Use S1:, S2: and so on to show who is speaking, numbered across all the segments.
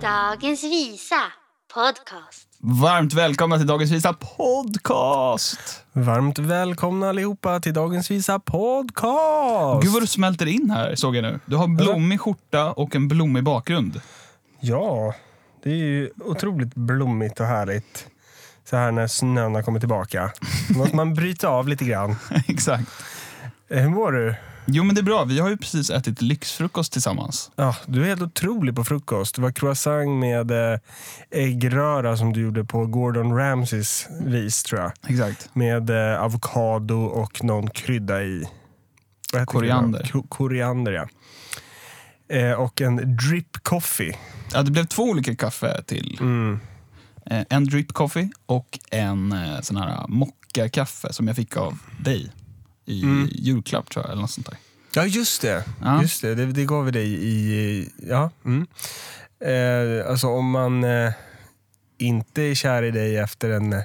S1: Dagens Visa podcast.
S2: Varmt välkomna till dagens visa podcast!
S3: Varmt välkomna allihopa till dagens visa podcast!
S2: Gud vad du smälter in här såg jag nu. Du har en blommig skjorta och en blommig bakgrund.
S3: Ja, det är ju otroligt blommigt och härligt. Så här när snön har kommit tillbaka. Då måste man bryta av lite grann.
S2: Exakt.
S3: Eh, Hur mår du?
S2: Jo men det är bra, vi har ju precis ätit lyxfrukost tillsammans.
S3: Ja, du är helt otrolig på frukost. Det var croissant med eh, äggröra som du gjorde på Gordon Ramsays vis, tror jag.
S2: Exakt.
S3: Med eh, avokado och någon krydda i. Vad heter
S2: Koriander.
S3: kryddan? Ko- koriander, ja. Eh, och en drip coffee.
S2: Ja, det blev två olika kaffe till.
S3: Mm.
S2: Eh, En drip coffee och en eh, sån här mocka-kaffe som jag fick av dig i
S3: Mm.
S2: julklapp tror jag, eller något sånt där.
S3: Ja, just det.
S2: Ja.
S3: Just det, det, det gav vi dig i... Ja. Mm. Eh, alltså om man eh, inte är kär i dig efter en eh,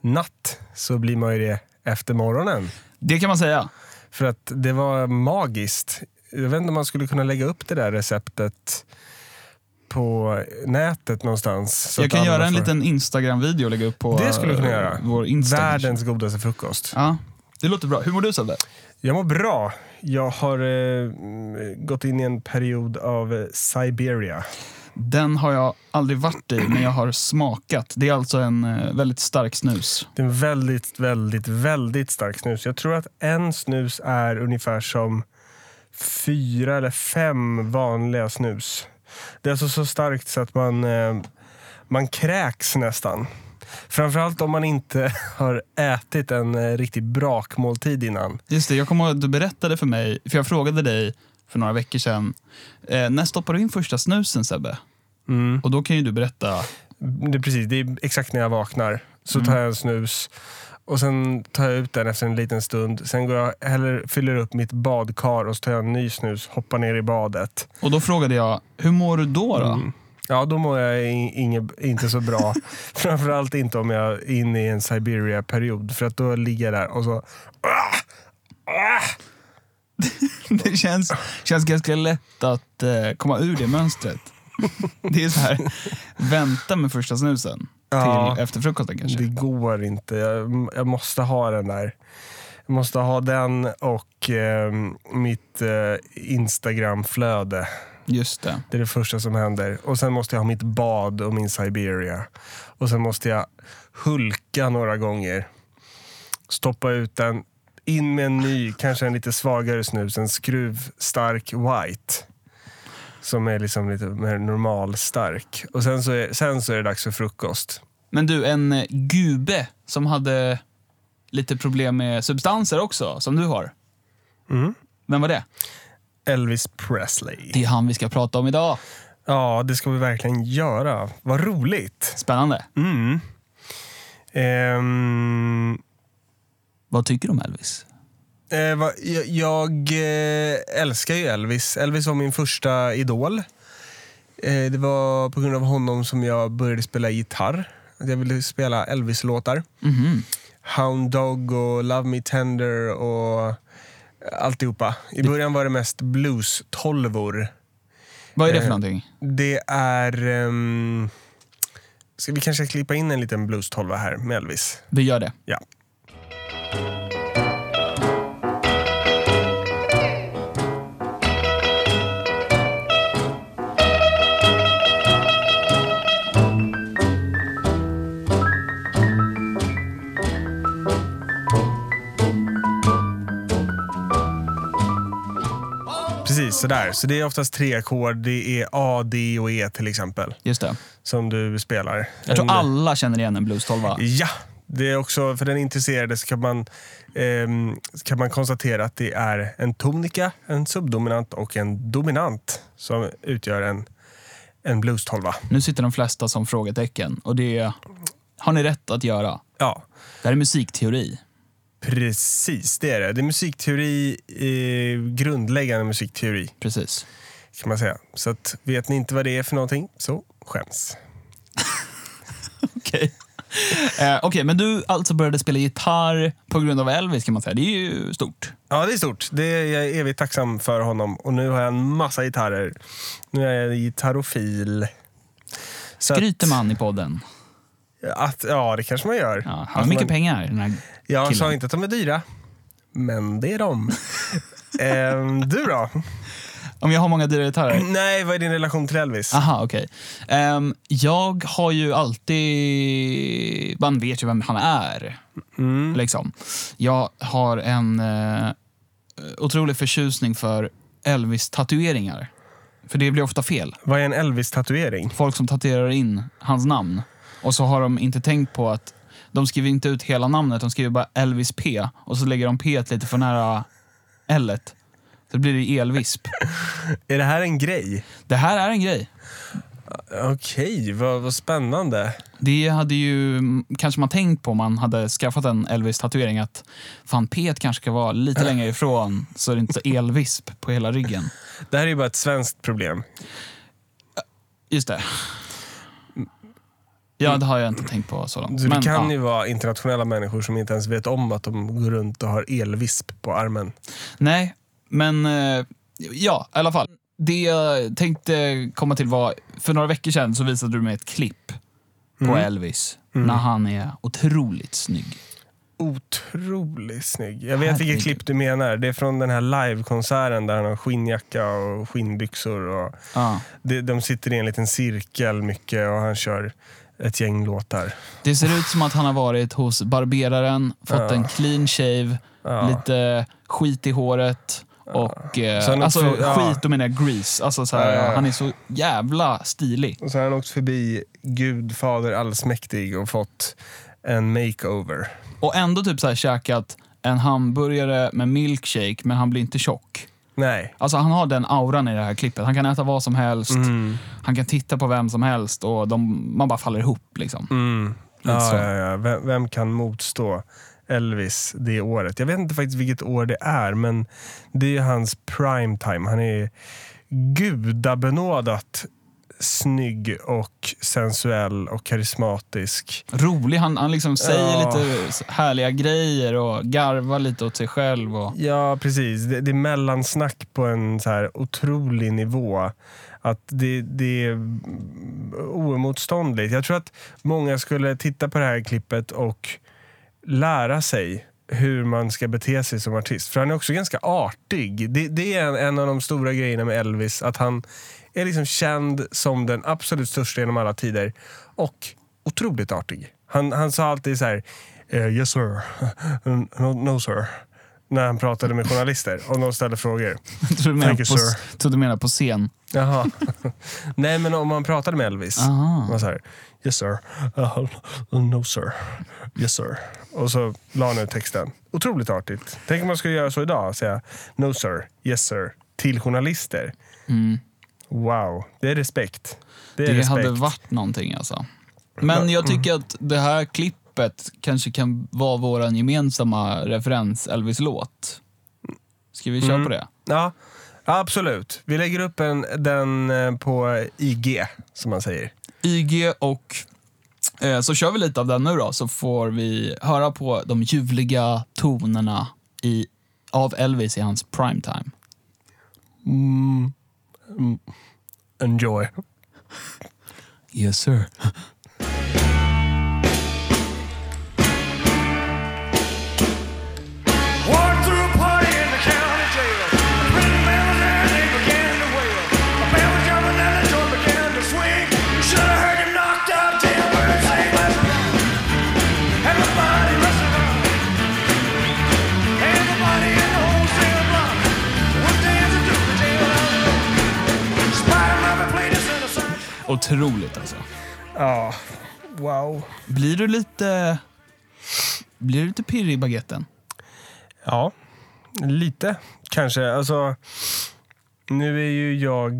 S3: natt så blir man ju det efter morgonen.
S2: Det kan man säga.
S3: För att det var magiskt. Jag vet inte om man skulle kunna lägga upp det där receptet på nätet någonstans. så
S2: jag
S3: att
S2: kan
S3: alla
S2: göra en
S3: får
S2: liten Instagram-video och lägga upp på
S3: Det skulle du kunna
S2: eh,
S3: göra.
S2: vår Instagram.
S3: Världens godaste frukost.
S2: Ja, det låter bra. Hur mår du Sebbe?
S3: Jag mår bra. Jag har eh, mm, gått in i en period av eh, Siberia.
S2: Den har jag aldrig varit i, men jag har smakat. Det är alltså en eh, väldigt stark snus.
S3: Det är en väldigt, väldigt, väldigt stark snus. Jag tror att en snus är ungefär som fyra eller fem vanliga snus. Det är alltså så starkt så att man, eh, man kräks nästan. Framförallt om man inte har ätit en eh, riktig brakmåltid innan.
S2: Just det, jag kommer ihåg att du berättade för mig, för jag frågade dig för några veckor sedan, eh, när stoppade du in första snusen Sebbe? Och då kan ju du berätta.
S3: Det är precis, det är exakt när jag vaknar. Så tar jag en snus och sen tar jag ut den efter en liten stund. Sen går jag, häller, fyller upp mitt badkar och så tar jag en ny snus, hoppar ner i badet.
S2: Och då frågade jag, hur mår du då? då?
S3: Mm. Ja, då mår jag i- inge, inte så bra. Framförallt inte om jag är inne i en Siberia-period. För att då ligger jag där och så...
S2: Det känns, känns ganska lätt att eh, komma ur det mönstret. Det är så här, vänta med första snusen
S3: Ja.
S2: till efter frukosten kanske.
S3: Det går inte. Jag, jag måste ha den där. Jag måste ha den och eh, mitt eh, Instagram-flöde.
S2: Just det.
S3: Det är det första som händer. Och sen måste jag ha mitt bad och min Siberia. Och sen måste jag hulka några gånger. Stoppa ut den. In med en ny, kanske en lite svagare snus. En skruvstark white. Som är liksom lite mer normalstark. Och sen så, är, sen så är det dags för frukost.
S2: Men du, en eh, gube som hade lite problem med substanser också, som du har.
S3: Mm.
S2: Vem var det?
S3: Elvis Presley.
S2: Det är han vi ska prata om idag.
S3: Ja, det ska vi verkligen göra. Vad roligt.
S2: Spännande.
S3: Mm. Ehm,
S2: Vad tycker du om Elvis?
S3: Eh, va, jag jag eh, älskar ju Elvis. Elvis var min första idol. Eh, det var på grund av honom som jag började spela gitarr. Att Jag ville spela Elvis-låtar.
S2: Mhm.
S3: Hound Dog och Love Me Tender och alltihopa. I början var det mest blues-tolvor.
S2: Vad är det för
S3: Eh,
S2: någonting?
S3: Det är... ehm, ska vi kanske klippa in en liten blues-tolva här med Elvis?
S2: Vi gör det.
S3: Ja. Precis, sådär. Så det är oftast tre ackord. Det är A, D och E till exempel
S2: Just det.
S3: som du spelar.
S2: Jag tror
S3: En-
S2: alla känner igen en blues-tolva.
S3: Ja, det är också, för den intresserade så kan man, ehm, kan man konstatera att det är en tonika, en subdominant och en dominant som utgör en, en blues-tolva.
S2: Nu sitter de flesta som frågetecken och det har ni rätt att göra.
S3: Ja,
S2: Det här är musikteori.
S3: precis det är det. Det är musikteori, eh, grundläggande musikteori
S2: Precis.
S3: kan man säga. Så att, vet ni inte vad det är för någonting så skäms.
S2: Okej. eh, okej, men du alltså började spela gitarr på grund av Elvis kan man säga. Det är ju stort.
S3: Ja, det är stort. Det är jag är evigt tacksam för honom. Och nu har jag en massa gitarrer. Nu är jag gitarrofil. Så
S2: Skryter man i podden?
S3: Att, ja, det kanske man gör.
S2: Ja, han har
S3: Att
S2: mycket
S3: Alltså, man-
S2: pengar, den här
S3: Jag
S2: killen.
S3: sa inte att de är dyra, men det är de. Ehm, du då?
S2: Om jag har många dyra gitarrer?
S3: Nej, vad är din relation till Elvis?
S2: Aha, okej. Ehm, jag har ju alltid... Man vet ju vem han är. Liksom. Jag har en eh, otrolig förtjusning för Elvis-tatueringar. För det blir ofta fel.
S3: Vad är en Elvis-tatuering?
S2: Folk som tatuerar in hans namn och så har de inte tänkt på att de skriver inte ut hela namnet, de skriver bara Elvis P och så lägger de P lite för nära L. Så blir det elvisp.
S3: Är det här en grej?
S2: Det här är en grej.
S3: Okej, vad, vad spännande.
S2: Det hade ju mm, kanske man tänkt på om man hade skaffat en Elvis-tatuering att fan P kanske ska vara lite längre ifrån så det är inte så elvisp på hela ryggen.
S3: Det här är ju bara ett svenskt problem.
S2: Just det. Ja, det har jag inte tänkt på så långt.
S3: Så det kan
S2: ja,
S3: ju vara internationella människor som inte ens vet om att de går runt och har elvisp på armen.
S2: Nej, men eh, ja, i alla fall. Det jag tänkte komma till var, för några veckor sedan så visade du mig ett klipp
S3: Mm.
S2: på Elvis när han är otroligt snygg.
S3: Otroligt snygg. Jag vet
S2: Herregud.
S3: vilket klipp du menar. Det är från den här livekonserten där han har skinnjacka och skinnbyxor. Och
S2: Ja.
S3: de, de sitter i en liten cirkel mycket och han kör ett gäng låtar.
S2: Det ser ut som att han har varit hos barberaren, fått en clean shave, lite skit i håret och... Eh,
S3: Sen
S2: alltså
S3: också- ja.
S2: skit, då menar jag grease. Alltså, så här,
S3: Ja, ja, ja.
S2: Han är så jävla stilig.
S3: Och så har han åkt förbi Gud fader allsmäktig och fått en makeover.
S2: Och ändå typ så här käkat en hamburgare med milkshake, men han blir inte tjock.
S3: Nej.
S2: Alltså han har den auran i det här klippet. Han kan äta vad som helst,
S3: Mm.
S2: han kan titta på vem som helst och de, man bara faller ihop. Liksom.
S3: Mm.
S2: Lite
S3: Ja,
S2: så.
S3: ja, ja. Vem, vem kan motstå Elvis det året? Jag vet inte faktiskt vilket år det är, men det är ju hans prime time. Han är gudabenådat snygg och sensuell och karismatisk.
S2: Rolig, han, han liksom säger
S3: Ja.
S2: lite härliga grejer och garvar lite åt sig själv. Och...
S3: Ja, precis. Det, det är mellansnack på en så här otrolig nivå. Att det, det är oemotståndligt. Jag tror att många skulle titta på det här klippet och lära sig hur man ska bete sig som artist. För han är också ganska artig. Det, det är en, en av de stora grejerna med Elvis. Att han är liksom känd som den absolut största genom alla tider. Och otroligt artig. Han, han sa alltid så här... "Eh, yes sir. No, no sir. När han pratade med journalister och de ställde frågor.
S2: Jag tror du menar
S3: Thank
S2: på,
S3: you, sir.
S2: tror du menar på scen.
S3: Jaha. Nej, men om man pratade med Elvis.
S2: Aha.
S3: Han var så här, yes sir, uh, no sir, yes sir. Och så la han ut texten. Otroligt artigt. Tänk om man skulle göra så idag, säga no sir, yes sir, till journalister. Wow, det är respekt. Det är
S2: Mm. Det
S3: respekt.
S2: hade varit någonting alltså. Men jag tycker att det här klippet kanske kan vara vår gemensamma referens Elvis-låt. Ska vi köra
S3: Mm.
S2: på det?
S3: Ja, absolut. Vi lägger upp en, den eh, på IG, som man säger.
S2: IG och eh, så kör vi lite av den nu då, så får vi höra på de ljuvliga tonerna i, av Elvis i hans primetime.
S3: Enjoy.
S2: Yes sir.
S4: Walked through a party in the county jail. The prison band was there and they began to wail. A band was jumping and the joint began to swing. You should have heard them knocked out jailbirds sing. Let's rock. Everybody, let's rock. Everybody in the whole cell block. What dancing to the jail house rock. Spider-Man played this in a song.
S2: Otroligt alltså.
S3: Ja, wow.
S2: Blir du lite... Blir du lite pirrig i baguetten?
S3: Ja, lite kanske. Alltså, nu är ju jag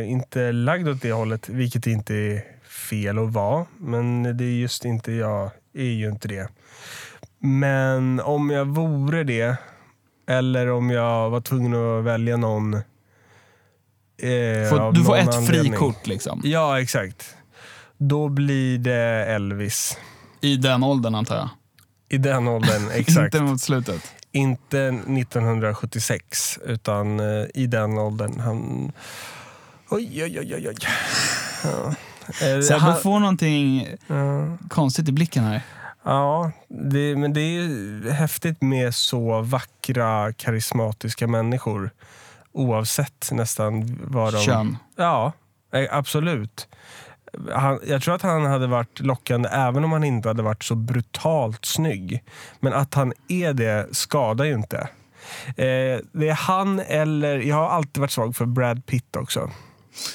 S3: eh, inte lagd åt det hållet, vilket inte är fel att vara. Men det är just inte jag, är ju inte det. Men om jag vore det, eller om jag var tvungen att välja någon. eh,
S2: Får,
S3: av
S2: du får
S3: någon
S2: ett
S3: anledning.
S2: frikort liksom.
S3: Ja, exakt. Då blir det Elvis.
S2: I den åldern antar jag.
S3: I den åldern, exakt.
S2: Inte mot slutet.
S3: Inte 1976, utan eh, i den åldern. Han... Oj, oj, oj, oj. oj. Eh,
S2: Sebbe
S3: han-
S2: får någonting
S3: Ja.
S2: konstigt i blicken här.
S3: Ja, det, men det är ju häftigt med så vackra, karismatiska människor. Oavsett nästan vad de...
S2: Kön.
S3: Ja, eh, absolut. Han, jag tror att han hade varit lockande även om han inte hade varit så brutalt snygg. Men att han är det skadar ju inte. Eh, det är han eller... Jag har alltid varit svag för Brad Pitt också.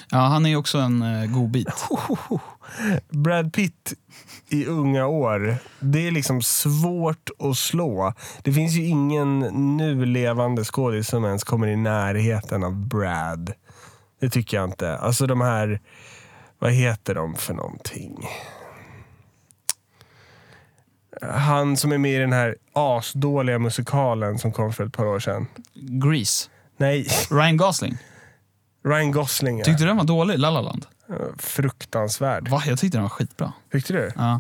S2: Ja, han är ju också en eh, god bit.
S3: Brad Pitt i unga år, det är liksom svårt att slå. Det finns ju ingen nu levande skådis som ens kommer i närheten av Brad. Det tycker jag inte. Alltså de här, vad heter de för någonting? Han som är med i den här asdåliga musikalen som kom för ett par år sedan.
S2: Grease.
S3: Nej,
S2: Ryan Gosling.
S3: Ryan Gosling. ja.
S2: Tyckte du den var dålig? La La Land?
S3: Fruktansvärd.
S2: Va? Jag tyckte den var skitbra.
S3: Tyckte du?
S2: Ja.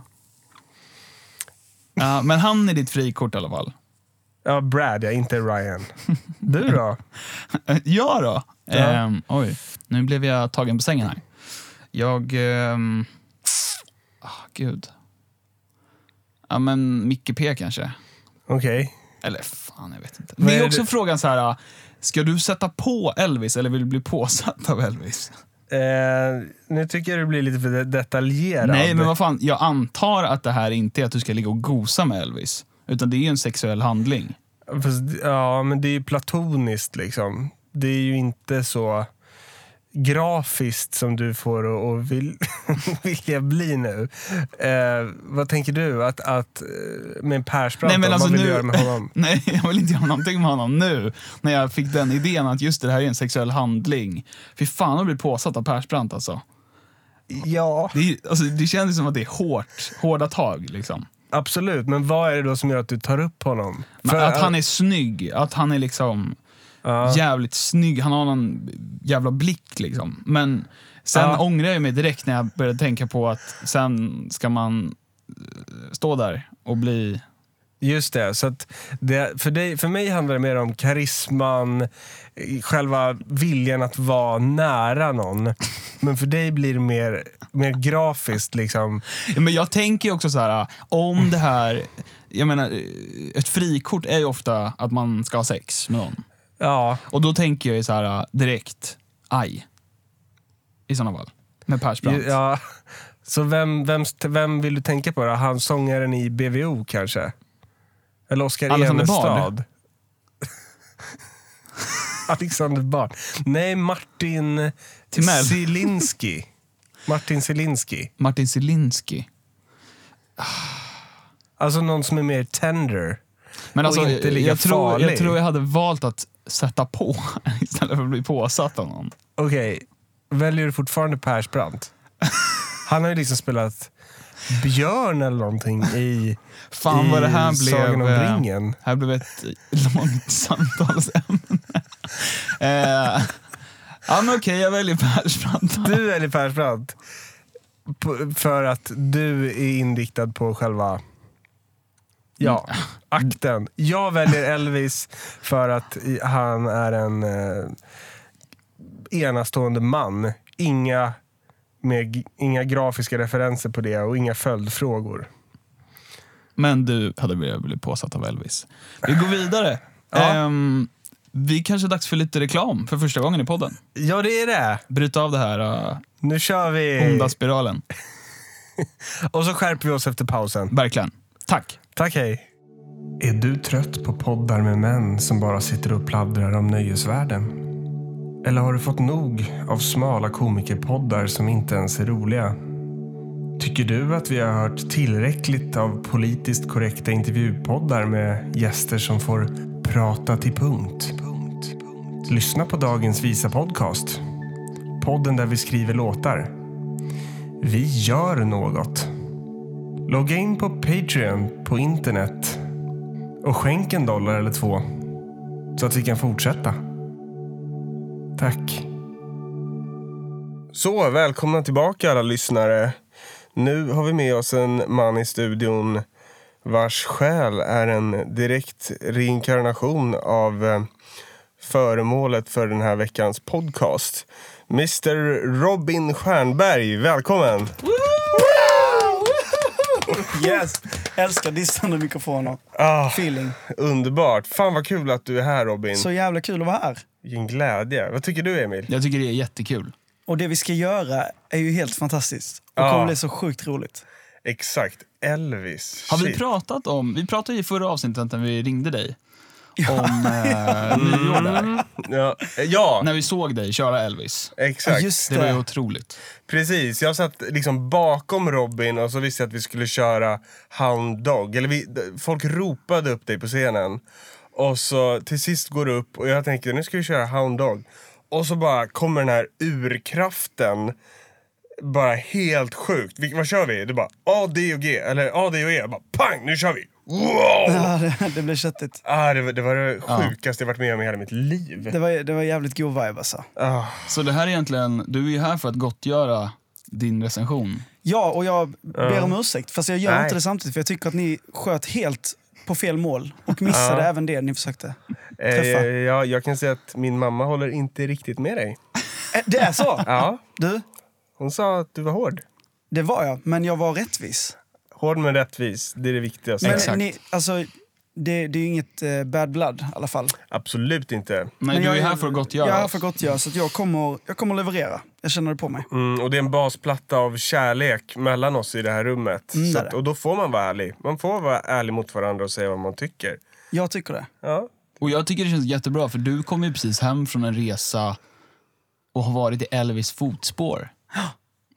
S2: Ja, men han är ditt frikort i alla fall.
S3: Ja, Brad ja, inte Ryan. Du då?
S2: Eh, Ja då.
S3: Ja.
S2: Ehm, oj, nu blev jag tagen på sängen här. Jag... ehm, ah, gud. Ja, men Micke P kanske.
S3: Okej.
S2: Eller fan, jag vet inte.
S3: Vad
S2: Det är
S3: är
S2: också
S3: det-
S2: frågan så här, ah, ska du sätta på Elvis eller vill du bli påsatt av Elvis?
S3: Eh, nu tycker jag du blir lite för de- detaljerad.
S2: Nej, men vad fan, jag antar att det här inte är att du ska ligga och gosa med Elvis. Utan det är ju en sexuell handling.
S3: Fast, ja, men det är ju platoniskt liksom. Det är ju inte så grafiskt som du får och, och vill vilja bli nu. Eh, vad tänker du att, att eh, med Persbrandt,
S2: Nej, men
S3: då,
S2: alltså
S3: vad vill
S2: nu-
S3: du göra med honom?
S2: Nej, jag vill inte göra någonting med honom nu. När jag fick den idén att just det här är en sexuell handling. Fy fan, jag blir påsatt av Persbrandt alltså.
S3: Ja.
S2: Det, är- alltså, det känns som att det är hårt, hårda tag. Liksom.
S3: Absolut, men vad är det då som gör att du tar upp honom?
S2: Men att han är snygg, att han är liksom
S3: Ja.
S2: jävligt snygg. Han har någon jävla blick liksom. Men sen
S3: Ja.
S2: ångrar jag mig direkt när jag började tänka på att sen ska man eh, stå där och bli...
S3: Just det. Så att det för, dig, för mig handlar det mer om karisman, eh, själva viljan att vara nära någon. Men för dig blir det mer, mer grafiskt. Liksom.
S2: Ja, Men jag tänker ju också så här, eh, om det här... Jag menar, eh, ett frikort är ju ofta att man ska ha sex med någon.
S3: Ja,
S2: Och då tänker jag ju så här eh, direkt, aj. I sådana fall. Med Persbrandt.
S3: ju- ja. Så vem, vem, vem vill du tänka på? Då? Han sångaren i BVO kanske? Eller Oskar
S2: Alexander
S3: Enestad? Alexander Bard. Nej, Martin
S2: Timell.
S3: Zielinski. Martin Zielinski.
S2: Martin Zielinski.
S3: Alltså någon som är mer tender.
S2: Men
S3: Och
S2: alltså,
S3: inte
S2: jag-
S3: lika
S2: jag, tror, jag
S3: farlig.
S2: tror jag hade valt att sätta på istället för att bli påsatt av någon.
S3: Okej, väljer du fortfarande Persbrandt? Han har ju liksom spelat björn eller någonting i,
S2: Fan
S3: i
S2: vad det här
S3: Sagan
S2: blev...
S3: om
S2: eh,
S3: ringen.
S2: Här blev ett långt samtalsämne. eh, ja men okej, jag väljer Persbrandt.
S3: Du väljer Persbrandt p- för att du är inriktad på själva ja, akten. Jag väljer Elvis för att i- han är en eh, enastående man. Inga, med, inga grafiska referenser på det och inga följdfrågor.
S2: Men du hade velat bli påsatt av Elvis. Vi går vidare.
S3: Ja.
S2: Ehm, vi kanske är dags för lite reklam för första gången i podden.
S3: Ja, det är det.
S2: Bryta av det här eh,
S3: Nu kör vi!
S2: onda spiralen.
S3: Och så skärper vi oss efter pausen.
S2: Verkligen. Tack.
S3: Tack, hej. Är du trött på poddar med män som bara sitter och pladdrar om nöjesvärlden? Eller har du fått nog av smala komikerpoddar som inte ens är roliga? Tycker du att vi har hört tillräckligt av politiskt korrekta intervjupoddar med gäster som får prata till punkt? Lyssna på dagens Visa Podcast. Podden där vi skriver låtar. Vi gör något. Logga in på Patreon på internet och skänk en dollar eller två så att vi kan fortsätta. Tack. Så, välkomna tillbaka alla lyssnare. Nu har vi med oss en man i studion vars själ är en direkt reinkarnation av eh, föremålet för den här veckans podcast. Mr Robin Stjernberg, välkommen!
S5: Yes! Älskar distande mikrofoner.
S3: Ah,
S5: Feeling.
S3: underbart! Fan vad kul att du är här Robin.
S5: Så jävla kul att vara här.
S3: Vilken glädje. Vad tycker du Emil?
S2: Jag tycker det är jättekul.
S5: Och det vi ska göra är ju helt fantastiskt. Och
S3: Ja.
S5: kommer bli så sjukt roligt.
S3: Exakt, Elvis.
S2: Har vi
S3: Shit.
S2: pratat om... Vi pratade i förra avsnittet när vi ringde dig. Om eh,
S5: Mm.
S2: nyår där.
S3: Ja, ja
S2: När vi såg dig köra Elvis.
S3: exakt.
S5: Just
S2: Det var ju
S5: det.
S2: otroligt.
S3: Precis, jag satt liksom bakom Robin och så visste jag att vi skulle köra Hound Dog. Eller vi, d- folk ropade upp dig på scenen. Och så till sist går du upp och jag tänker nu ska vi köra Hound Dog. Och så bara kommer den här urkraften. Bara helt sjukt. Vi, vad kör vi? Du bara A, D och G. Eller A, D och E. Jag bara pang, nu kör vi! Wow!
S5: Ja, det, det blev köttigt.
S3: Ah, det, var- det var det sjukaste jag varit med om i hela mitt liv.
S5: Det var, det var jävligt god vibe alltså.
S3: Ah,
S2: Så det här är egentligen... Du är ju här för att gottgöra din recension.
S5: Ja, och jag ber om ursäkt. Fast jag gör
S3: Nej.
S5: inte det samtidigt för jag tycker att ni sköt helt på fel mål. Och missade även det ni försökte
S3: eh,
S5: träffa.
S3: ja, jag kan säga att min mamma håller inte riktigt med dig.
S5: Eh, Det är så?
S3: Ja.
S5: Du,
S3: Hon sa att du var hård.
S5: det var jag. Men jag var rättvis.
S3: Hård men rättvis, det är det viktigaste.
S5: Men
S2: Exakt.
S5: ni, alltså, det, det är ju inget eh, bad blood i alla fall.
S3: Absolut inte.
S2: Nej,
S5: Men
S2: du
S5: jag
S2: är här för att gottgöra
S5: Jag är här
S2: oss.
S5: för att gottgöra, så att jag, kommer, jag kommer leverera. Jag känner det på mig.
S3: Mm, och det är en basplatta av kärlek mellan oss i det här rummet.
S5: Mm,
S3: så
S5: det är
S3: att,
S5: det.
S3: och då får man vara ärlig. Man får vara ärlig mot varandra och säga vad man tycker.
S5: Jag tycker det.
S3: Ja,
S2: Och jag tycker det känns jättebra för du kom ju precis hem från en resa och har varit i Elvis fotspår.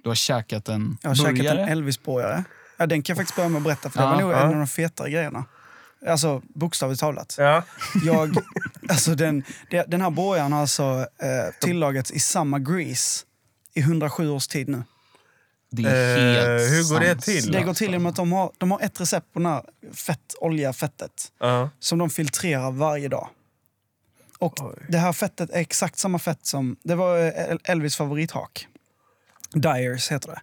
S2: Du har käkat en
S5: Jag har käkat
S2: burgare.
S5: en Elvis-borgare. Ja, den kan jag faktiskt börja med att berätta, för det
S2: Ja,
S5: var nog
S3: ja.
S5: en av de fetare grejerna. Alltså, bokstavligt talat.
S3: ja.
S5: Jag, alltså den, det- den här borgaren har alltså eh, tillagats i samma grease i 107 års tid nu.
S2: det är helt
S3: Eh, hur går det till?
S5: Det går till genom att de har, de har ett recept på den här fett, olja, fettet
S3: ja.
S5: som de filtrerar varje dag. Och det här fettet är exakt samma fett som, det var eh, El- Elvis favorithak. Dyers heter det.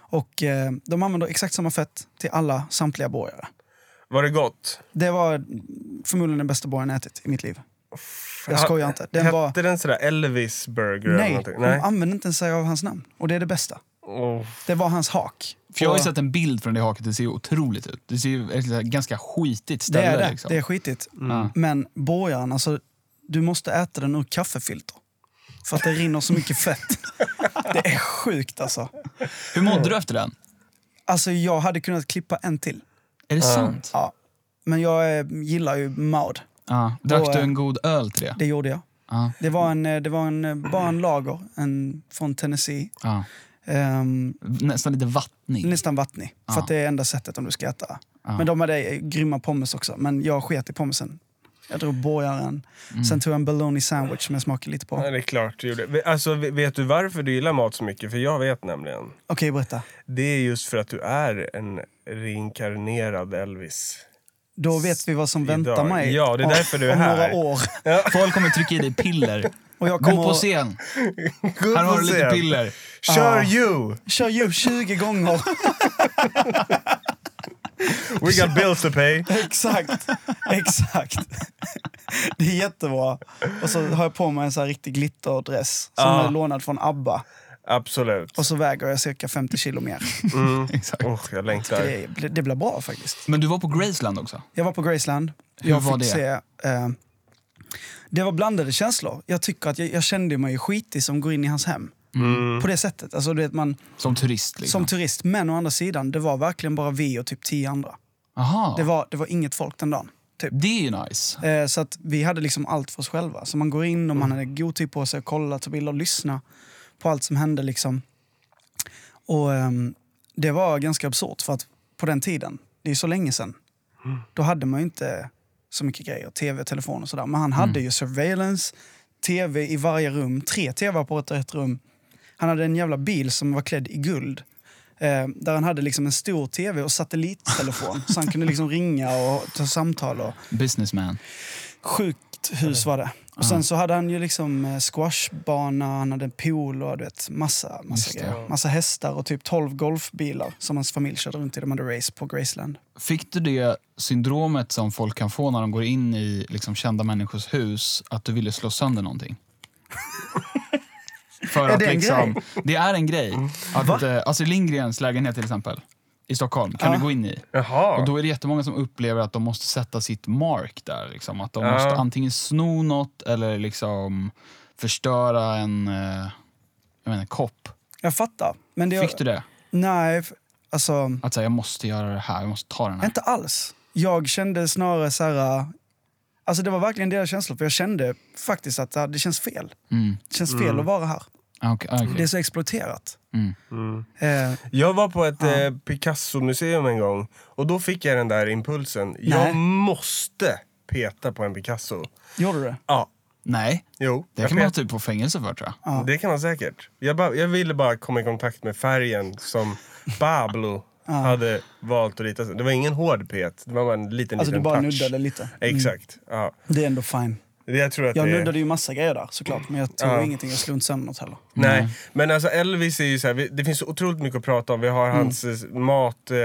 S5: Och eh, de använder exakt samma fett till alla samtliga borgare.
S3: Var det gott?
S5: Det var förmodligen den bästa borgaren jag ätit i mitt liv. Jag skojar inte. Den
S3: Hette
S5: var,
S3: den sådär Elvis burger eller
S5: nej, Mm,
S3: någonting?
S5: de
S3: Nej.
S5: använde inte ens sig av hans namn. Och det är det bästa.
S3: Oh.
S5: Det var hans hak.
S2: För jag har
S5: Och
S2: ju sett en bild från det haket, det ser ju otroligt ut. Det ser ju ett så här ganska skitigt
S5: det
S2: ställe.
S5: är det.
S2: Liksom.
S5: Det är skitigt.
S2: Ja.
S5: Men borgaren, alltså, du måste äta den ur kaffefilter. För att det rinner så mycket fett. Det är sjukt alltså.
S2: Hur mådde du efter den?
S5: Alltså jag hade kunnat klippa en till.
S2: Är det sant?
S5: Ja. Men jag eh, gillar ju Maud.
S2: Ja. Drack
S5: Och,
S2: du
S5: eh,
S2: en god öl till det?
S5: Det gjorde jag.
S2: Ja.
S5: Det var, en, eh, det var en, eh, bara en lager en, från Tennessee.
S2: Ja.
S5: Ehm,
S2: Nästan lite vattnig.
S5: nästan vattnig. För
S2: Ja.
S5: att det är enda sättet om du ska äta.
S2: Ja.
S5: Men de hade eh, grymma pommes också. Men jag sket i pommesen. Jag drog borgaren.
S2: Mm.
S5: Sen tog jag en bologna sandwich som jag smakade lite på.
S3: Ja,
S5: Okej,
S3: det är klart du gjorde. Alltså, vet du varför du gillar mat så mycket? För jag vet nämligen.
S5: berätta.
S3: Det är just för att du är en reinkarnerad Elvis.
S5: Då vet vi vad som
S3: Idag.
S5: väntar mig
S3: Ja, det är
S5: om-
S3: därför du är
S5: om
S3: här.
S5: några år.
S2: Folk kommer trycka i dig piller.
S5: Och jag kommer
S2: Gå på
S5: att-
S2: scen,
S3: Gå upp
S2: här har
S3: och
S2: du
S3: se.
S2: lite piller.
S3: Kör
S5: Ah.
S3: you!
S5: Kör ju 20 gånger.
S3: We got bills to pay.
S5: Exakt. Exakt. Det är jättebra. Och så har jag på mig en så här riktig glitterdress som
S3: Ja.
S5: är lånad från ABBA.
S3: Absolut.
S5: Och så väger jag cirka 50 kilo mer.
S2: Exakt.
S3: Oh, jag längtar.
S5: Det, det blir bra faktiskt.
S2: Men du var på Graceland också.
S5: Jag var på Graceland.
S2: Hur
S5: jag
S2: var
S5: fick
S2: det?
S5: se... Eh, det var blandade känslor. Jag tycker att jag, jag kände mig skitig som går in i hans hem.
S3: Mm.
S5: På det sättet. Alltså, du vet, man,
S2: Som turist. Liksom.
S5: som turist. Men å andra sidan, det var verkligen bara vi och typ tio andra.
S2: Aha.
S5: Det, var, det var inget folk den dagen. Typ.
S2: det är ju nice.
S5: Eh, så att vi hade liksom allt för oss själva. Så man går in och man hade god tid på sig att kolla, ta bilder och lyssna på allt som hände. Liksom. Och ehm, det var ganska absurt för att på den tiden, det är så länge sedan, då hade man ju inte så mycket grejer. Tv, telefon och sådär. Men han hade ju surveillance, tv i varje rum, tre tv-apparater i ett rum. Han hade en jävla bil som var klädd i guld. Eh, där han hade liksom en stor tv och satellittelefon. så han kunde liksom ringa och ta samtal. Och,
S2: Businessman.
S5: sjukt hus var det. Och sen så hade han ju liksom eh, squashbana, han hade en pool och du vet, massa, massa
S2: Just det.
S5: grejer. Massa hästar och typ 12 golfbilar som hans familj körde runt i. De hade race på Graceland.
S2: Fick du det syndromet som folk kan få när de går in i liksom, kända människors hus, att du ville slå sönder någonting? För
S5: Är
S2: att
S5: det en
S2: liksom,
S5: grej? Mm.
S2: det är en grej. Att, eh, Astrid Lindgrens lägenhet till exempel, i Stockholm, kan du gå in i.
S3: Jaha.
S2: Och då är det jättemånga som upplever att de måste sätta sitt mark där. Liksom. Att de
S3: Ja.
S2: måste antingen sno något eller liksom förstöra en, eh, jag menar, kopp.
S5: Jag fattar. Men det,
S2: Fick du det?
S5: Nej, f- alltså
S2: Att säga jag måste göra det här, jag måste ta den här.
S5: inte alls. Jag kände snarare så här... eh, Alltså det var verkligen deras känslor, för jag kände faktiskt att ah, det känns fel.
S2: Mm.
S5: Det känns fel att vara här.
S2: Ah, okej, ah, okej.
S5: Det är så exploaterat.
S2: Mm.
S5: Eh,
S3: Jag var på ett eh, Picasso-museum en gång och då fick jag den där impulsen. Jag måste peta på en Picasso.
S5: gjorde du det?
S3: Ja,
S2: Nej,
S3: jo.
S2: det
S3: jag
S2: kan man ha
S3: pet-
S2: typ på fängelse för tror jag.
S3: det kan man säkert. Jag, bara, jag ville bara komma i kontakt med färgen som Pablo hade valt att rita. Det var ingen hård pet, det var bara en liten,
S5: Alltså du
S3: liten
S5: bara
S3: touch.
S5: nuddade lite.
S3: Exakt. Ja.
S5: Det är ändå fine.
S3: Jag tror att
S5: Jag
S3: det är-
S5: nuddade ju massa grejer där såklart, men jag tog
S3: Ja.
S5: ingenting. Jag slog inte sönder något heller.
S3: Nej, men alltså Elvis är ju så här, vi- det finns så otroligt mycket att prata om. Vi
S5: Mm.
S3: har hans eh, mat, eh,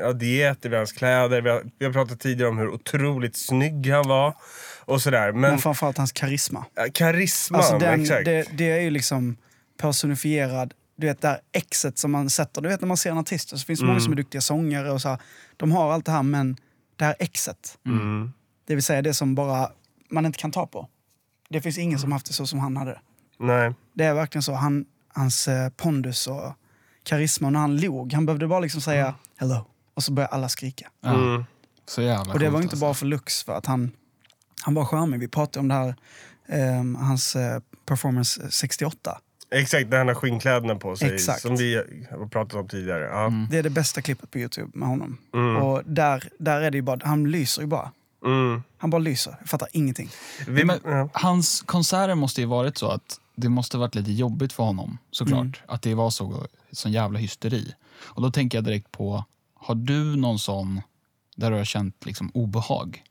S3: ja, dieter, vi har hans kläder. Vi har, vi har pratat tidigare om hur otroligt snygg han var och sådär. Men,
S5: Men framförallt hans karisma.
S3: ja, karisman,
S5: Alltså den,
S3: exakt.
S5: det, det är ju liksom personifierad, du vet det här exet som man sätter. Du vet när man ser en artist, så finns det
S3: Mm.
S5: många som är duktiga sångare och så här, De har allt det här, men det här exet. Det vill säga det som bara man inte kan ta på. Det finns ingen som haft det så som han hade det.
S3: Nej.
S5: Det är verkligen så. Han, hans eh, pondus och karisma. Och när han log, han behövde bara liksom säga hello. Och så började alla skrika.
S2: Ja.
S3: Mm.
S2: Så jävla
S5: Och det
S2: sjukt,
S5: var inte
S2: alltså.
S5: bara för Lux, för att han, han var charmig. Vi pratade om det här, ehm, hans eh, performance 68.
S2: Mm.
S3: Exakt, där han har skinnkläderna på sig.
S5: Exakt. Mm.
S3: Som vi har pratat om tidigare. Ja.
S5: Det är det bästa klippet på Youtube med honom.
S2: Mm.
S5: Och där, där är det ju bara, han lyser ju bara.
S3: Mm.
S5: Han bara lyser. Jag fattar ingenting.
S3: Vi,
S2: Men,
S3: ja.
S2: Hans konserter måste ju varit så att det måste varit lite jobbigt för honom såklart.
S5: Mm.
S2: Att det var så, sån jävla hysteri. Och då tänker jag direkt på, har du någon sån där du har känt liksom obehag?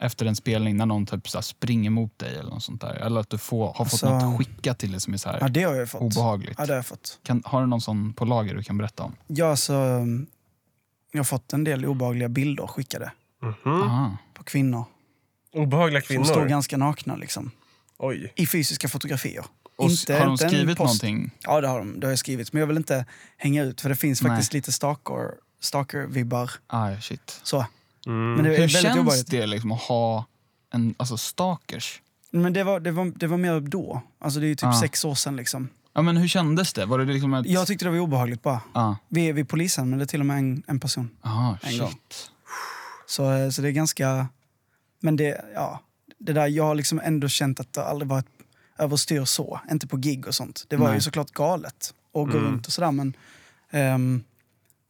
S2: Efter en spelning när någon typ så här springer mot dig eller något sånt där. Eller att du får, har fått
S5: Alltså-
S2: något skickat till dig som är så här
S5: Ja, det har jag ju fått.
S2: obehagligt.
S5: Ja, det har jag fått.
S2: Kan, har du någon sån på lager du kan berätta om?
S5: Jag, alltså, ehm, jag har fått en del obehagliga bilder skickade Mm.
S2: Aha.
S5: på kvinnor.
S3: Obehagliga
S5: Som står
S3: kvinnor.
S5: ganska nakna liksom.
S3: Oj.
S5: I fysiska fotografier.
S2: Och s- har de
S5: en
S2: skrivit
S5: post-
S2: någonting?
S5: Ja, det har de. Det har jag skrivit. Men jag vill inte hänga ut för det finns
S2: Nej.
S5: faktiskt lite stalker, stalker-vibbar.
S2: Ah, shit.
S5: Så. Men det är
S2: Hur
S5: väldigt
S2: känns
S5: obehagligt.
S2: det liksom att ha en, alltså stalkers?
S5: Men det var, det, var, det var mer då. Alltså det är ju typ
S2: Ja.
S5: sex år sedan liksom.
S2: Ja, men hur kändes det? Var det liksom ett...
S5: Jag tyckte det var obehagligt bara.
S2: ah.
S5: Vi, vi polisen, men det är till och med en, en person.
S2: Aha,
S5: En gång.
S2: shit.
S5: Så, eh, så det är ganska... Men det, ja. Det där, jag har liksom ändå känt att det aldrig varit överstyr så. Inte på gig och sånt. Det var
S2: Nej. Mm.
S5: ju såklart galet att gå runt och sådär men ehm,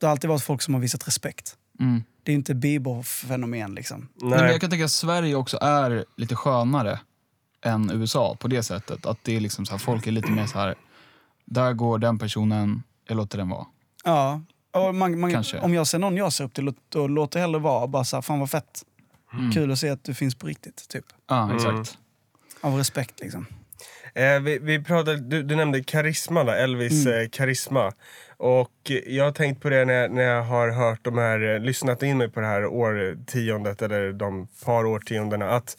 S5: det har alltid varit folk som har visat respekt.
S2: Mm.
S5: Det är ju inte Bieber-fenomen liksom.
S2: Nej. men
S3: Nej.
S2: jag kan tänka att Sverige också är lite skönare än USA på det sättet. Att det är liksom så här, folk är lite mer så här, där går den personen, jag låter den vara.
S5: Ja. Och man, man,
S2: Kanske.
S5: om jag ser någon jag ser upp till, då låter jag hellre vara. Bara såhär, fan vad fett.
S2: Mm.
S5: Kul att se att du finns på riktigt, typ.
S2: Ja,
S3: Mm.
S2: exakt.
S5: Av respekt liksom.
S3: Eh, vi, vi pratade, du, du nämnde karisma, där, Elvis eh, karisma. Och eh, jag har tänkt på det när, jag- när jag har hört de här, eh, lyssnat in mig på det här årtiondet eller de par årtiondena. Att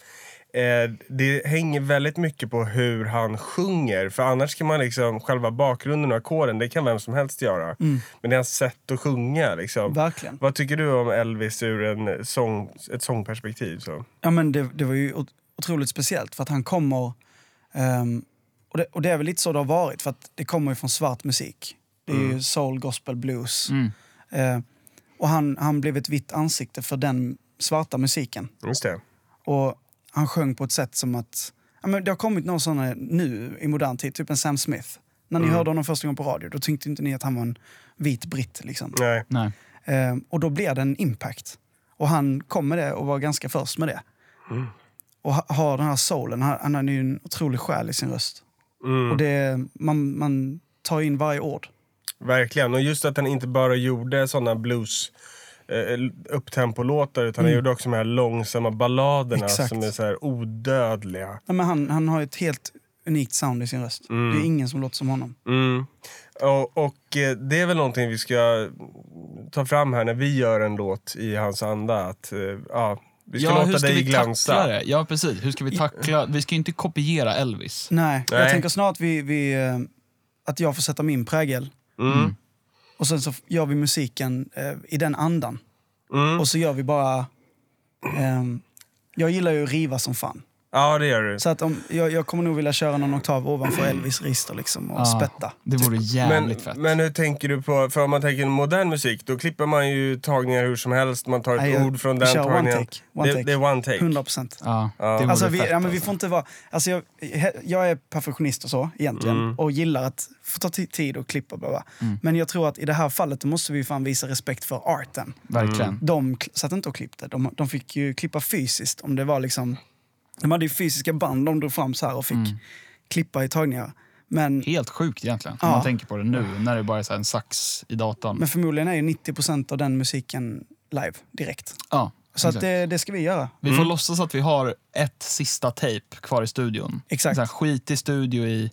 S3: eh, det hänger väldigt mycket på hur han sjunger. För annars kan man liksom, själva bakgrunden och ackorden, det kan vem som helst göra. Men det är hans sätt att sjunga liksom.
S5: Verkligen.
S3: Vad tycker du om Elvis ur en eh, sång, ett sångperspektiv? Så?
S5: Ja, men det, det var ju ot- otroligt speciellt för att han kommer... ehm, och, det, och det är väl lite så det har varit för att det kommer ju från svart musik. Det är ju soul, gospel, blues. Eh, och han, han blev ett vitt ansikte för den svarta musiken.
S3: Just det.
S5: Och han sjöng på ett sätt som att... Ja, men det har kommit några sådana nu i modern tid, typ en Sam Smith. När ni hörde honom första gången på radio, då tyckte inte ni att han var en vit britt. Liksom.
S3: Nej.
S2: Nej.
S5: Eh, och då blev det en impact. Och han kom med det och var ganska först med det.
S3: Mm.
S5: Och ha, har den här soulen, han, han har ju en otrolig själ i sin röst.
S3: Mm.
S5: Och det, man, man tar in varje ord.
S3: Verkligen. Och just att han inte bara gjorde såna blues eh, upptempo-låtar utan han gjorde också de här långsamma balladerna
S5: Mm. Exakt.
S3: som är så här odödliga.
S5: Ja, men han, han har ett helt unikt sound i sin röst.
S3: Mm.
S5: Det är ingen som låter som honom.
S3: Och, och eh, det är väl någonting vi ska ta fram här när vi gör en låt i hans anda. Att, eh, ja, Vi ska
S2: ja,
S3: låta dig
S2: vi
S3: glänsa.
S2: tackla det? Ja, precis. Hur ska vi tackla? Vi ska ju inte kopiera Elvis.
S5: Nej, jag
S3: Nej.
S5: tänker snart vi, vi, eh, att jag får sätta min prägel.
S3: Mm.
S5: Och sen så f- gör vi musiken eh, i den andan.
S3: Mm.
S5: Och så gör vi bara... ehm, jag gillar ju att riva som fan.
S3: Ja, det gör du.
S5: Så att om, jag, jag kommer nog vilja köra någon oktav ovanför Elvis register liksom och
S2: Ja,
S5: spätta.
S2: Det vore jävligt
S3: men,
S2: fett.
S3: men hur tänker du på, för om man tänker modern musik, då klipper man ju tagningar hur som helst. Man tar ett
S5: Nej, jag-
S3: ord från
S5: vi
S3: den
S5: kör one
S3: tagningen.
S5: take, one
S3: det,
S5: take.
S3: det är one take.
S5: 100 procent.
S2: ja, det vore
S5: Alltså, vi,
S2: fett.
S5: ja, men vi får inte vara... Alltså jag, he- jag är perfektionist och så egentligen
S3: Mm.
S5: och gillar att få ta ti- tid och klippa. och bla, bla. Men jag tror att i det här fallet då måste vi fan visa respekt för arten.
S2: alltså. Verkligen.
S5: De kl- satt inte och klippte. De, de fick ju klippa fysiskt om det var liksom... De hade ju fysiska band de drog fram så här och fick klippa i tagningar. Men,
S2: Helt sjukt egentligen, om
S5: Ja.
S2: man tänker på det nu, när det bara är så här en sax i datorn.
S5: men förmodligen är ju 90 procent av den musiken live direkt.
S2: ja,
S5: Så att
S2: exakt.
S5: det, det ska vi göra.
S2: Vi får låtsas att vi har ett sista tejp kvar i studion.
S5: Exakt.
S2: Så här, skit i studio i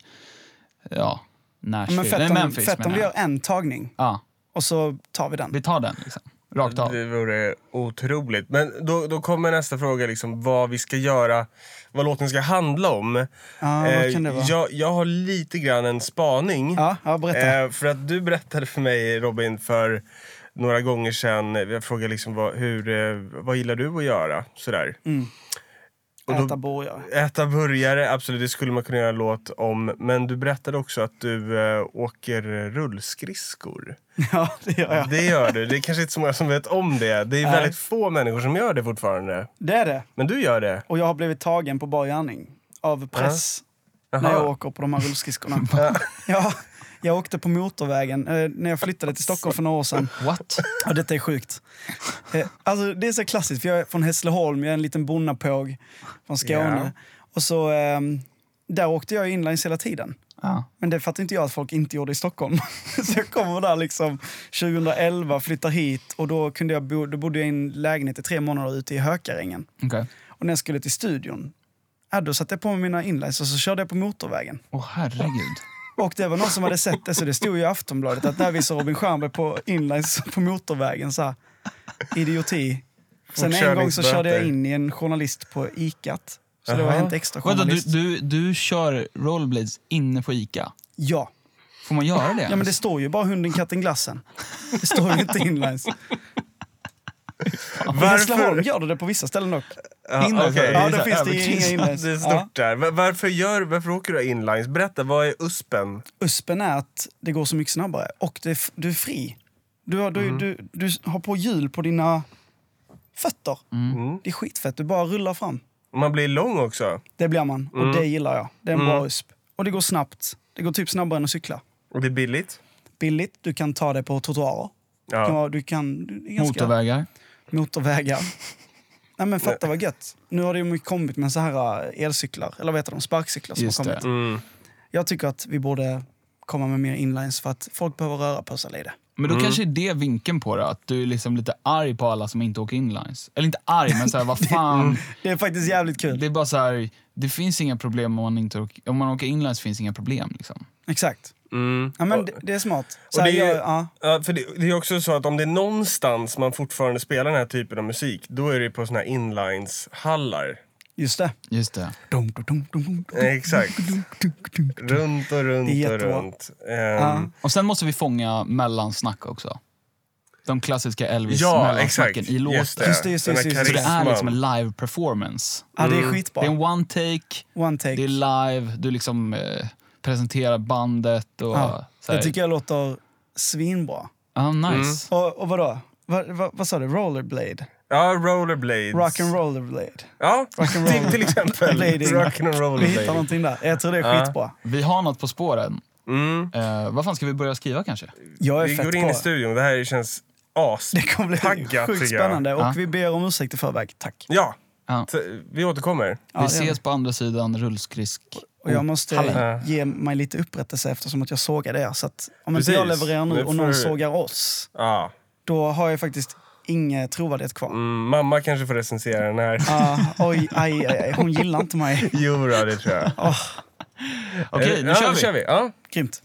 S2: ja, Nashville.
S5: Men fett
S2: Nej,
S5: om,
S2: Memphis
S5: fett om
S2: menar
S5: vi
S2: jag.
S5: gör en tagning
S2: Ja,
S5: och så tar vi den.
S2: vi tar den liksom. Rakt av.
S3: Det vore otroligt. Men då, då kommer nästa fråga, liksom, vad vi ska göra, vad låten ska handla om. Eh,
S5: Ja, vad kan det vara?
S3: jag, jag har lite grann en spaning.
S5: Ja, ja, berätta.
S3: Eh, för att du berättade för mig, Robin, för några gånger sedan. eh, Jag frågade liksom, vad, hur, eh, vad gillar du att göra? Sådär. och då-
S5: Mm. Äta borgare.
S3: Äta burgare, absolut, det skulle man kunna göra en låt om. Men du berättade också att du eh, åker rullskridskor.
S5: Ja, det gör jag.
S3: Det gör du. Det är kanske inte så många som vet om det. Det är
S5: Nej.
S3: väldigt få människor som gör det fortfarande.
S5: Det är det.
S3: Men du gör det.
S5: Och jag har blivit tagen på bar gärning av press när jag åker på de här rullskidskorna. ja, jag åkte på motorvägen eh, när jag flyttade till Stockholm för några år sedan.
S2: What?
S5: Ja, detta är sjukt. Eh, alltså, det är så klassiskt, för jag är från Hässleholm, jag är en liten bonnapåg från Skåne.
S3: Ja.
S5: Och så, ehm, där åkte jag inlines hela tiden.
S2: Ja.
S5: Men det fattar inte jag att folk inte gjorde i Stockholm. så jag kommer där liksom 2011, flyttar hit och då, kunde jag bo, då bodde jag i en lägenhet i tre månader ute i Hökarängen.
S2: Okej.
S5: Och när jag skulle till studion, ja, då satte jag på mig mina inlines och så körde jag på motorvägen.
S2: Åh herregud.
S5: Och det var någon som hade sett det, så det stod ju i Aftonbladet att där visar Robin Stjernberg på inlines på motorvägen. Så här, idioti. Sen en gång så körde jag in i en journalist på ICAT. Så det var
S3: Jaha.
S5: Hänt Extra
S2: Vänta, du,
S5: journalist.
S2: du, du kör rollblades inne på Ica?
S5: Ja.
S2: Får man göra det?
S5: ja, men det står ju bara hunden, katten, glassen. Det står ju inte inlines. I Hässleholm gör du det på vissa ställen dock.
S3: Ja,
S2: Inlines,
S3: okej.
S5: alltså? Ja,
S2: så här
S5: då finns det ju
S2: överkryssat.
S5: inga inlines.
S3: Det är
S5: Ja.
S3: stort där. Va- Varför, gör, varför åker du inlines? Berätta, vad är USPen?
S5: USPen är att det går så mycket snabbare och det, är f- du är fri. Du har, du, du, du har på hjul på dina fötter. Det är skitfett. Du bara rullar fram.
S3: Man blir lång också.
S5: Det blir man och det gillar jag. Det är en bra USP. Och det går snabbt. Det går typ snabbare än att cykla.
S3: Och det är billigt.
S5: Billigt. Du kan ta det på trottoarer. Du kan,
S3: Ja.
S5: vara- du kan, du är ganska,
S2: Motorvägar.
S5: motorvägar. Nej men fatta vad gött. Nu har det ju mycket kommit med så här eh, elcyklar, eller vad heter de, sparkcyklar som
S2: Just
S5: har
S2: det.
S5: kommit.
S3: Mm.
S5: Jag tycker att vi borde komma med mer inlines för att folk behöver röra på sig lite.
S2: Men då kanske är det vinkeln på det, att du är liksom lite arg på alla som inte åker inlines. Eller inte arg, men såhär, vad fan.
S5: Det är faktiskt jävligt kul.
S2: Det är bara så här, det finns inga problem om man, inte åker, om man åker inlines finns inga problem. Liksom.
S5: Exakt.
S3: Mm.
S5: Ja, men det, det är smart. Så
S3: Och
S5: här,
S3: det är
S5: jag,
S3: ju-
S5: ja,
S3: Ja, för det, det är också så att om det är någonstans man fortfarande spelar den här typen av musik, då är det på såna här inlines-hallar.
S5: just det.
S2: Just det.
S5: Dum, dum, dum, dum, dum, dum,
S3: Eh, Exakt.
S5: dum, dum, dum.
S3: Runt och
S5: Det
S3: runt
S5: är
S3: och
S5: jättebra.
S3: runt. Ehm,
S5: Ja.
S2: Och sen måste vi fånga mellansnack också. De klassiska Elvis
S3: ja, exakt.
S2: mellansnacken i låten.
S3: Just det.
S5: Just det, just det,
S3: Den här
S5: just det, just
S2: Så det är liksom
S3: karisman.
S2: en live performance.
S5: Ja,
S3: Mm.
S5: det är
S2: Det är en
S5: skitbra.
S2: one take,
S5: One take.
S2: det är live, du liksom eh, presenterar bandet och
S5: Ja,
S2: så här.
S5: det tycker jag låter svinbra.
S2: Ah, nice.
S5: Och, och vadå? Vad, vad, vad sa du? Rollerblade?
S3: Ja, rollerblades.
S5: Rock and rollerblade?
S3: Ja,
S5: Rock and roll.
S3: till, till exempel.
S5: Blading.
S3: Rock and
S5: Vi hittar
S3: rollerblades.
S5: någonting där. Jag tror det är
S3: Ja.
S5: skitbra.
S2: Vi har något på spåren.
S3: Mm.
S2: Eh, vad fan ska vi börja skriva kanske?
S5: Jag är
S3: Vi
S5: fett
S3: går in
S5: på.
S3: i studion. Det här känns
S5: Det kommer bli
S3: astaggat,
S5: sjukt
S3: tycker jag.
S5: spännande. Och
S2: Ja.
S5: vi ber om ursäkt i förväg. Tack.
S3: Ja,
S2: Ja.
S3: så vi återkommer.
S5: Ja,
S2: vi
S5: det gör
S2: ses på andra sidan rullskridsk.
S5: Och jag måste
S3: Hallå.
S5: ge mig lite upprättelse eftersom att jag sågade er. Så att om inte
S3: Precis.
S5: jag levererar nu
S3: Nu
S5: och någon
S3: får-
S5: sågar oss,
S3: Ja.
S5: då har jag faktiskt ingen trovärdighet kvar.
S3: Mm, mamma kanske får recensera den här.
S5: Ah, oj, aj, aj, aj, hon gillar inte mig.
S3: Jo, då, det tror jag. Eh,
S2: Okej, nu
S3: ja,
S2: kör
S3: nu
S2: vi.
S3: kör vi. Ja.
S5: Grymt.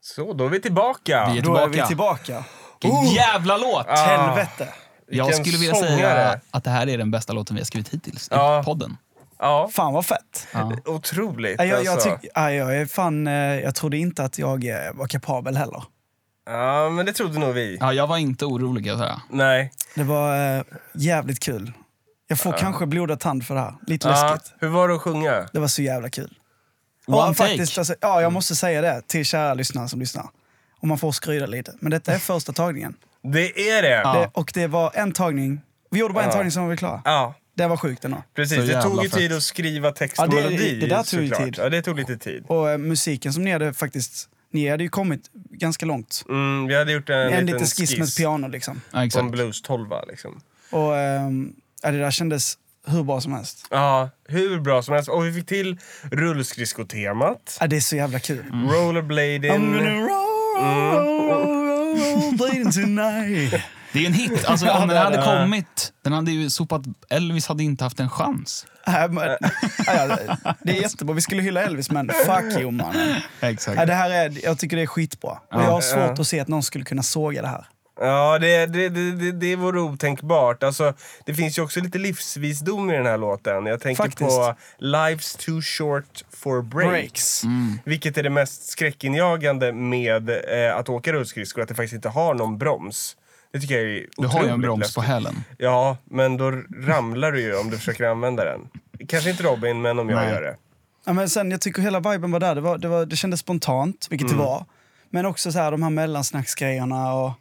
S3: Så, då är vi tillbaka.
S2: Vi är
S5: Då är vi
S2: Tillbaka.
S5: tillbaka.
S2: Vilken jävla låt!
S3: Ah.
S5: Helvete.
S2: Jag
S3: vilken
S2: skulle vilja
S3: sångare.
S2: säga att det här är den bästa låten vi har skrivit hittills
S3: Ja.
S2: i podden.
S3: Ja,
S5: Fan vad fett.
S2: Ja.
S3: otroligt
S5: Nej, Jag, jag,
S3: alltså.
S5: tyck, nej, jag, är fan, eh, jag trodde inte att jag eh, var kapabel heller.
S3: Ja, men det trodde nog vi.
S2: Ja, jag var inte orolig. kan Jag säga.
S3: Nej.
S5: Det var eh, jävligt kul. Jag
S3: Ah.
S5: får kanske blodad tand för det här. Lite
S3: Ja,
S5: läskigt.
S3: hur var det att sjunga?
S5: Det var så jävla kul.
S2: One
S5: ja,
S2: take.
S5: Faktiskt, alltså, ja, jag måste säga det till kära lyssnare som lyssnar. Om man får skryda lite. Men detta är första tagningen.
S3: Det är det!
S2: Ja.
S5: Det, och det var en tagning. Vi gjorde bara en tagning som var vi klara.
S3: Ja,
S5: Det var sjukt ändå.
S3: precis.
S2: Så
S3: Det tog
S2: jävla
S3: ju
S2: fett.
S3: tid att skriva text
S5: Ja,
S3: och
S5: det-
S3: melodi.
S5: det där tog ju
S3: såklart.
S5: tid.
S3: Ja, det tog lite tid.
S5: Och eh, musiken som ni hade faktiskt... Ni hade ju kommit ganska långt.
S3: Mm, vi hade gjort en,
S5: En,
S3: liten
S5: liten skiss med ett piano liksom.
S2: Ja,
S3: på en
S2: exakt.
S3: blues tolva liksom.
S5: Och ehm, ja, det där kändes hur bra som helst.
S3: Ja, hur bra som helst. Och vi fick till rullskridskotemat,
S5: Ja, det är så jävla kul. I'm
S3: rollerblading.
S5: gonna roll, roll, roll, bleeding tonight.
S2: Det är ju en hit. Alltså, om den hade kommit... Den hade ju sopat... Elvis hade inte haft en chans.
S5: Nej, Äh,
S3: Äh.
S5: men- Ja, ja, det är jättebra. Vi skulle hylla Elvis, men fuck you mannen. Ja,
S2: Exakt.
S5: det här är, jag tycker det är skitbra. Och jag har svårt att se att någon skulle kunna såga det här.
S3: Ja, det, det, det, det, det vore otänkbart. Alltså, det finns ju också lite livsvisdom i den här låten. Jag tänker
S5: Faktiskt.
S3: på Life's too short for breaks.
S5: Breaks.
S2: Mm.
S3: Vilket är det mest skräckinjagande med eh, att åka rullskridskor, att det faktiskt inte har någon broms. Det tycker jag är
S2: Du har ju en
S3: otroligt
S2: broms
S3: läskigt.
S2: på hälen.
S3: Ja, men då ramlar du ju om du försöker använda den. Kanske inte Robin, men om jag
S2: Nej.
S3: gör det.
S5: Ja, men sen, jag tycker hela viben var där. Det, var, det, var, det kändes spontant, vilket
S3: Mm.
S5: det var. Men också så här, de här mellansnacksgrejerna. Och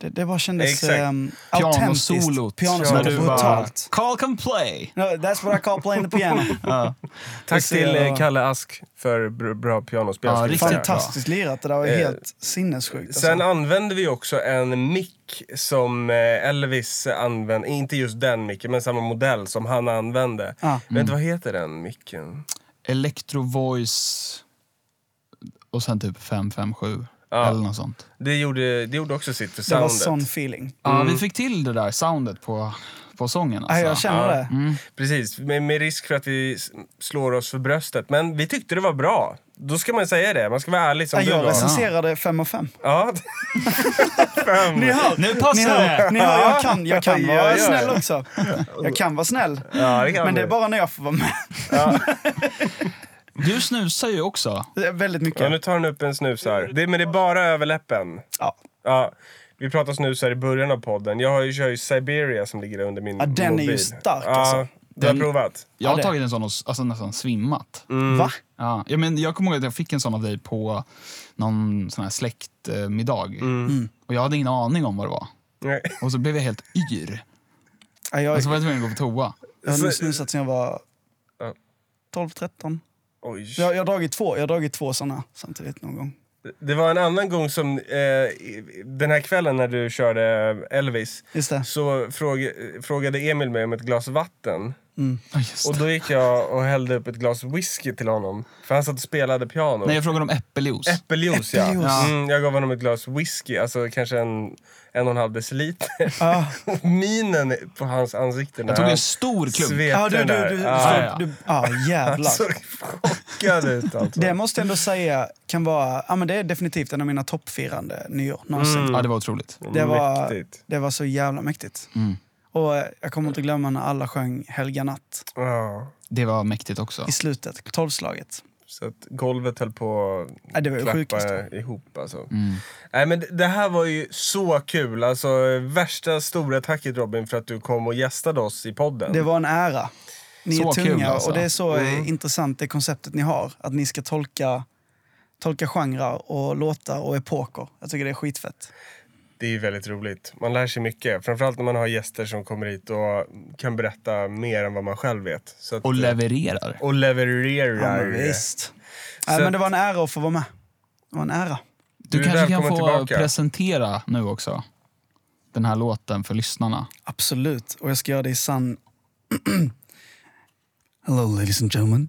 S5: det, det bara kändes
S3: Mm. Exakt.
S5: um, autentiskt.
S2: Pianosolot.
S5: Pianosolot.
S2: När du bara,
S5: Brutalt.
S2: Call can play.
S5: No, that's what I call playing the piano.
S3: Tack
S5: ser
S3: till eh,
S5: jag.
S3: Kalle Ask för br- bra pianospel.
S2: Ja,
S3: skulle jag
S2: riktigt
S3: säga.
S2: bra.
S5: Fantastiskt lirat. Det där var ju helt sinnessjukt. Alltså.
S3: Eh, Sen använde vi också en mick som eh, Elvis använde. Inte just den micken, men samma modell som han använde.
S5: Ja.
S3: Vet
S2: Mm.
S3: du vad heter den micken?
S2: Electro voice och sen typ 557
S3: Ja.
S2: eller något sånt.
S3: Det gjorde, det gjorde också sitt för
S5: det var
S3: soundet.
S5: sån feeling.
S2: Ja, vi fick till det där soundet på, på sången.
S5: Ja,
S2: Alltså.
S5: jag känner
S3: ja.
S5: det.
S3: Precis, med, med risk för att vi s- slår oss för bröstet. Men vi tyckte det var bra. Då ska man säga det. Man ska vara ärlig som
S5: Ja,
S3: du
S5: jag
S3: var.
S5: recenserade 5 av 5.
S3: Ja. Fem.
S5: Ni hör!
S2: Nu passar
S5: ni hör,
S2: det!
S5: ni hör jag, kan, jag kan
S3: Ja,
S5: vara
S3: gör det.
S5: snäll också. Jag kan vara snäll.
S3: Ja, det kan
S5: Men det är
S3: du.
S5: bara när jag får vara med.
S2: Du snusar ju också.
S5: Det är Väldigt
S3: Ja,
S5: mycket.
S3: nu tar han upp en snus här. Det, men det är bara överläppen.
S5: Ja.
S3: Ja, vi pratade snus här i början av podden. Jag har ju, kör ju Siberia som ligger under min
S5: Ja, den är ju
S3: mobil.
S5: stark,
S3: ja,
S5: alltså.
S3: Du har
S2: Den-
S3: provat?
S2: Jag
S5: Ja,
S2: har
S5: det- Mm.
S2: tagit en sån och s- alltså, nästan svimmat.
S3: Mm.
S5: Va?
S2: Ja, jag, men, jag kommer ihåg att jag fick en sån av dig på någon sån här släktmiddag.
S5: Mm.
S2: Och jag hade ingen aning om vad det var.
S3: Nej.
S2: Och så blev jag helt yr.
S5: Ja,
S2: Och så
S5: jag,
S3: Alltså,
S2: var jag tvungen att gå på toa.
S5: jag har nu snusat sen jag var
S3: Ja.
S5: 12-13.
S3: Oj.
S5: Jag, jag har dragit två, jag har dragit två såna samtidigt någon gång.
S3: Det var en annan gång som eh, i- den här kvällen när du körde Elvis
S5: Just det.
S3: så fråg, frågade Emil mig om ett glas vatten.
S2: Ja, just
S3: Och
S2: det.
S3: då gick jag och hällde upp ett glas whisky till honom. För han satt och spelade piano.
S2: Nej, jag frågade om äppeljuice.
S3: Äppeljuice,
S5: Äppeljuice.
S3: ja. Mm, jag gav honom ett glas whisky, alltså kanske en, en och en halv deciliter.
S5: Ah.
S3: Minen på hans ansikte när
S2: jag tog
S3: han
S2: en stor klump.
S3: svepte
S5: Ja, du, du,
S3: den där.
S5: du, du,
S3: Ja.
S2: ja.
S5: du, ja, jävlar.
S3: såg chockad ut alltså.
S5: Det måste jag ändå säga kan vara, ja men det är definitivt en av mina toppfirande nyår någonsin.
S2: Ja, det var otroligt.
S5: Det var,
S3: Mm, Mäktigt.
S5: det var så jävla mäktigt. Och eh, jag kommer inte glömma när alla sjöng Helga natt
S3: Ja,
S2: Det var mäktigt också.
S5: i slutet, tolvslaget.
S3: så att golvet höll på
S5: Ja, det var ju Mm.
S3: klappa
S5: sjukast.
S3: ihop alltså. Nej, men det- det här var ju så kul. Alltså, värsta stora tacket Robin för att du kom och gästade oss i podden.
S5: Det var en ära. Ni
S2: Så
S5: är tunga
S2: kul, alltså.
S5: och det är så eh, intressant det konceptet ni har. Att ni ska tolka, tolka genrer och låtar och epoker. Jag tycker det är skitfett.
S3: Det är ju väldigt roligt. Man lär sig mycket. Framförallt när man har gäster som kommer hit och kan berätta mer än vad man själv vet. Så att, eh,
S2: Och levererar.
S3: och
S5: Ja,
S3: levererar.
S5: men visst. Nej,
S3: Så
S5: men
S3: att-
S5: det var en ära att få vara med. Det var en ära.
S2: Du
S3: är
S2: kanske kan få
S3: välkommen tillbaka.
S2: presentera nu också. Den här låten för lyssnarna.
S5: Absolut. Och jag ska göra det i sann... Hello ladies and gentlemen.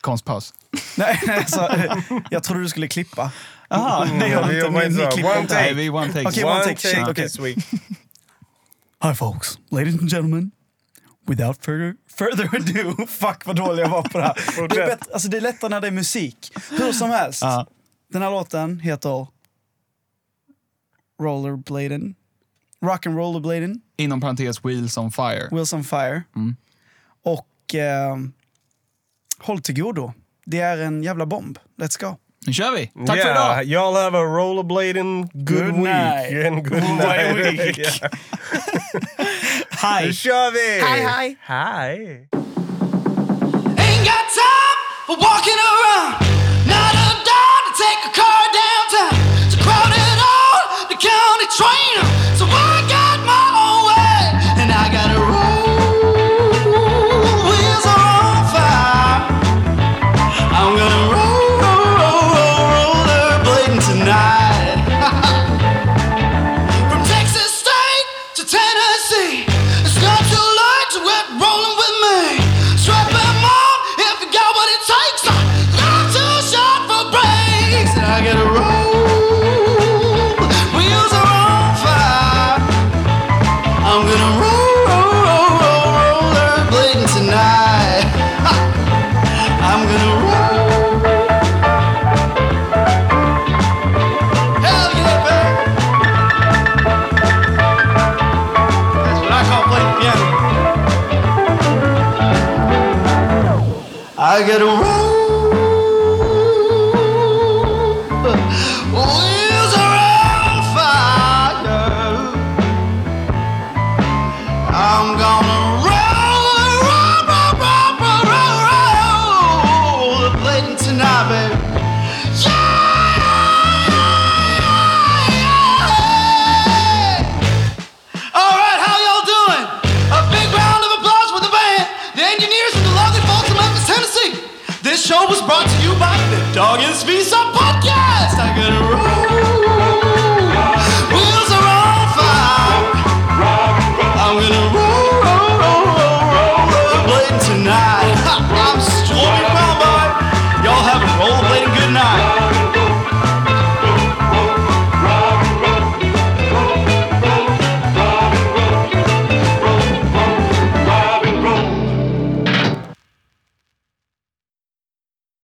S2: Konstpaus.
S5: Nej, nej, alltså, jag trodde du skulle klippa. Jaha, det
S3: vi
S5: gör du inte.
S3: jobbar
S5: Ni,
S3: inte så.
S5: ni klipper
S3: One
S5: inte.
S2: Nej,
S5: här.
S2: vi one take.
S5: Okej,
S3: One
S5: one
S3: take
S5: take, shit, okej.
S3: this week.
S5: Hi folks, ladies and gentlemen. Without further, further ado. Fuck vad dålig jag var på det här. Det är, bättre, alltså det är lättare när det är musik. Hur som helst.
S2: Ja.
S5: Den här låten heter Rollerbladen. Rock and Rollerbladen.
S2: Inom parentes Wheels on Fire.
S5: Wheels on Fire.
S2: Mm.
S5: Och eh, håll till godo. Det är en jävla bomb. Let's go.
S2: Nu kör vi! Tack för
S6: yeah,
S2: idag!
S6: Y'all have a rollerblading good,
S5: Good
S6: week.
S5: night.
S6: And good
S5: Bye
S6: night.
S5: week.
S6: Nu
S5: Hej!
S6: kör vi!
S5: Hej, hej.
S6: Hej!
S7: Ain't got time for walking around. Not a dime to take a car downtown. It's crowded on the county train. So I got my own way. And I got a roll. Wheels are on fire. I'm gonna roll, roll, roll, roll, rollerblading tonight. From Texas State to Tennessee, it's not too late to quit rolling with me. Strap 'em on if you got what it takes. Not too short for breaks. And I gotta roll. Wheels are on fire. I'm gonna roll, roll, roll, roll, rollerblading tonight. I'm gonna roll. Hell yeah, baby. That's what I call playing the piano. I gotta roll. Wheels are on fire. I'm gonna roll, roll, roll, roll, roll, roll, roll. The plating tonight, baby. Yeah! All right, how y'all doing? A big round of applause for the band, the engineers from the lovely folks in Memphis, Tennessee. This show was brought to you by the Dog and Speed Sub Podcast. I gotta roll.